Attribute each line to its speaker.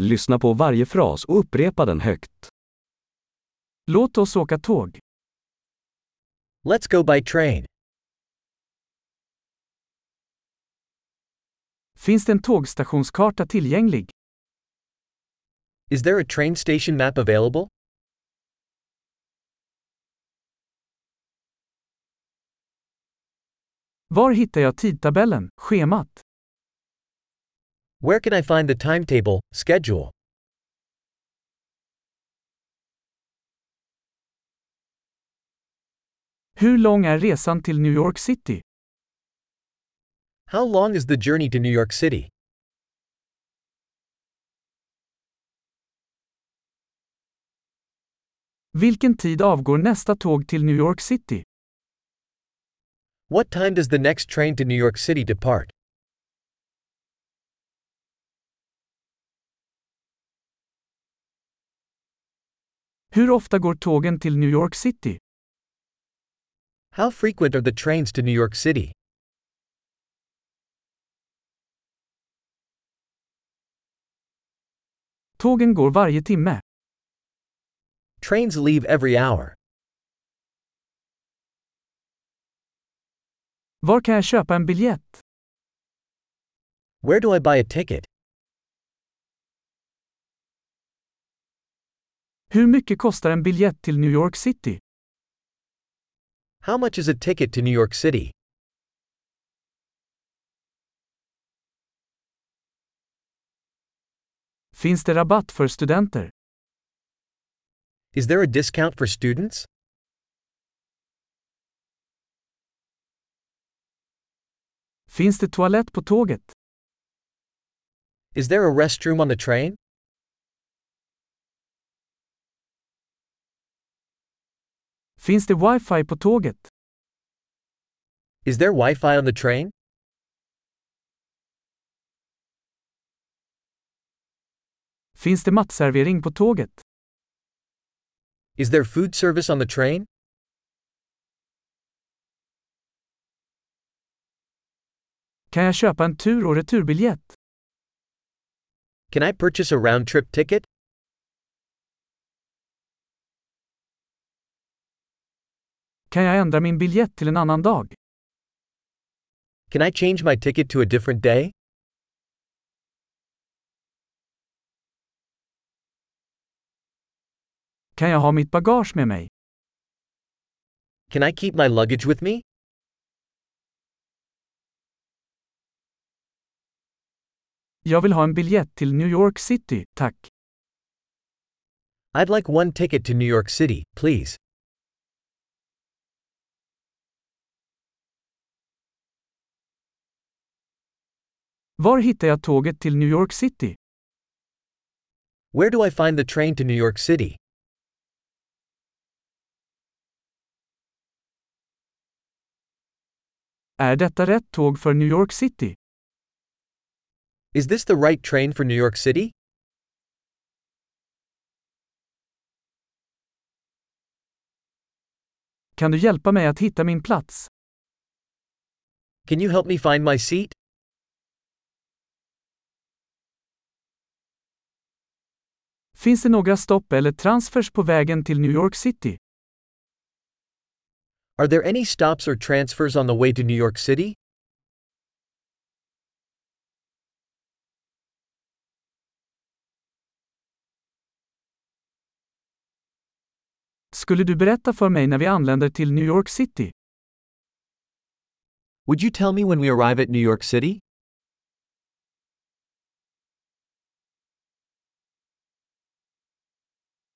Speaker 1: Lyssna på varje fras och upprepa den högt. Låt oss åka tåg.
Speaker 2: Let's go by train.
Speaker 1: Finns det en tågstationskarta tillgänglig?
Speaker 2: Is there a train station map available?
Speaker 1: Var hittar jag tidtabellen, schemat?
Speaker 2: Where can I find the timetable, schedule?
Speaker 1: Hur lång är resan till New York City?
Speaker 2: How long is the journey to New York City?
Speaker 1: Vilken tid avgår nästa tåg till New York City?
Speaker 2: What time does the next train to New York City depart?
Speaker 1: Hur ofta går tågen till New York City?
Speaker 2: How frequent are the trains to New York City?
Speaker 1: Tågen går varje timme.
Speaker 2: Trains leave every hour.
Speaker 1: Var kan jag köpa en biljett?
Speaker 2: Where do I buy a ticket?
Speaker 1: Hur mycket kostar en biljett till New York City?
Speaker 2: How much is a ticket to New York City?
Speaker 1: Finns det rabatt för studenter?
Speaker 2: Is there a discount for students?
Speaker 1: Finns det toalett på tåget?
Speaker 2: Is there a restroom on the train?
Speaker 1: Finns det wifi på tåget?
Speaker 2: Is there Wi Fi on the train?
Speaker 1: Finns det matservering på tåget?
Speaker 2: Is there food service on the train?
Speaker 1: Kan jag köpa en tur och returbiljett?
Speaker 2: Can I purchase a round trip ticket?
Speaker 1: Kan jag ändra min biljett till en annan dag?
Speaker 2: Can I change my ticket to a different day?
Speaker 1: Kan jag ha mitt bagage med mig?
Speaker 2: Can I keep my luggage with me?
Speaker 1: Jag vill ha en biljett till New York City, tack.
Speaker 2: I'd like one ticket to New York City, please.
Speaker 1: Var hittar jag tåget till New York City?
Speaker 2: Where do I find the train to New York City?
Speaker 1: Är detta rätt tåg för New York City?
Speaker 2: Is this the right train for New York City?
Speaker 1: Kan du hjälpa mig att hitta min plats?
Speaker 2: Can you help me find my seat?
Speaker 1: Finns det några stopp eller transfers på vägen till New York City?
Speaker 2: Are there any stops or transfers on the way to New York City?
Speaker 1: Skulle du berätta för mig när vi anländer till New York City?
Speaker 2: Would you tell me when we arrive at New York City?